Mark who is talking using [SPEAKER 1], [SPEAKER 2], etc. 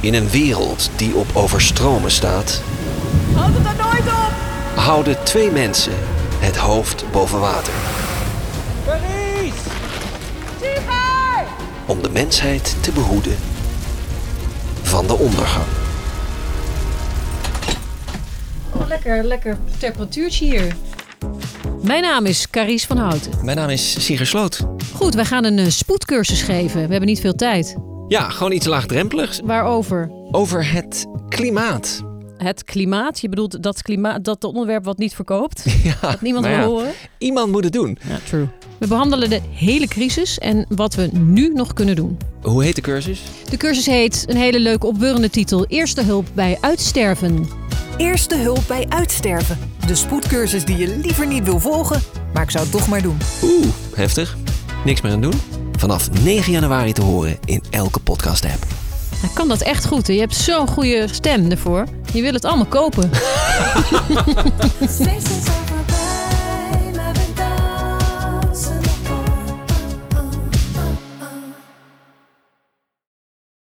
[SPEAKER 1] In een wereld die op overstromen staat,
[SPEAKER 2] Houd het er nooit op!
[SPEAKER 1] houden twee mensen het hoofd boven water.
[SPEAKER 3] Parijs!
[SPEAKER 2] Super!
[SPEAKER 1] om de mensheid te behoeden van de ondergang.
[SPEAKER 4] Oh, lekker, lekker temperatuurtje hier. Mijn naam is Carice van Houten.
[SPEAKER 1] Mijn naam is Sieger Sloot.
[SPEAKER 4] Goed, wij gaan een eh, spoedcursus geven. We hebben niet veel tijd.
[SPEAKER 1] Ja, gewoon iets laagdrempeligs
[SPEAKER 4] Waarover?
[SPEAKER 1] over het klimaat.
[SPEAKER 4] Het klimaat. Je bedoelt dat klimaat, dat onderwerp wat niet verkoopt.
[SPEAKER 1] Ja,
[SPEAKER 4] Dat niemand
[SPEAKER 1] maar
[SPEAKER 4] wil
[SPEAKER 1] ja,
[SPEAKER 4] horen.
[SPEAKER 1] Iemand moet het doen.
[SPEAKER 4] Ja, true. We behandelen de hele crisis en wat we nu nog kunnen doen.
[SPEAKER 1] Hoe heet de cursus?
[SPEAKER 4] De cursus heet, een hele leuke opbeurende titel, Eerste hulp bij uitsterven.
[SPEAKER 5] Eerste hulp bij uitsterven. De spoedcursus die je liever niet wil volgen, maar ik zou het toch maar doen.
[SPEAKER 1] Oeh, heftig. Niks meer aan doen? Vanaf 9 januari te horen in elke podcast-app.
[SPEAKER 4] Hij Nou, kan dat echt goed. Hè? Je hebt zo'n goede stem ervoor. Je wil het allemaal kopen.
[SPEAKER 6] Spaces are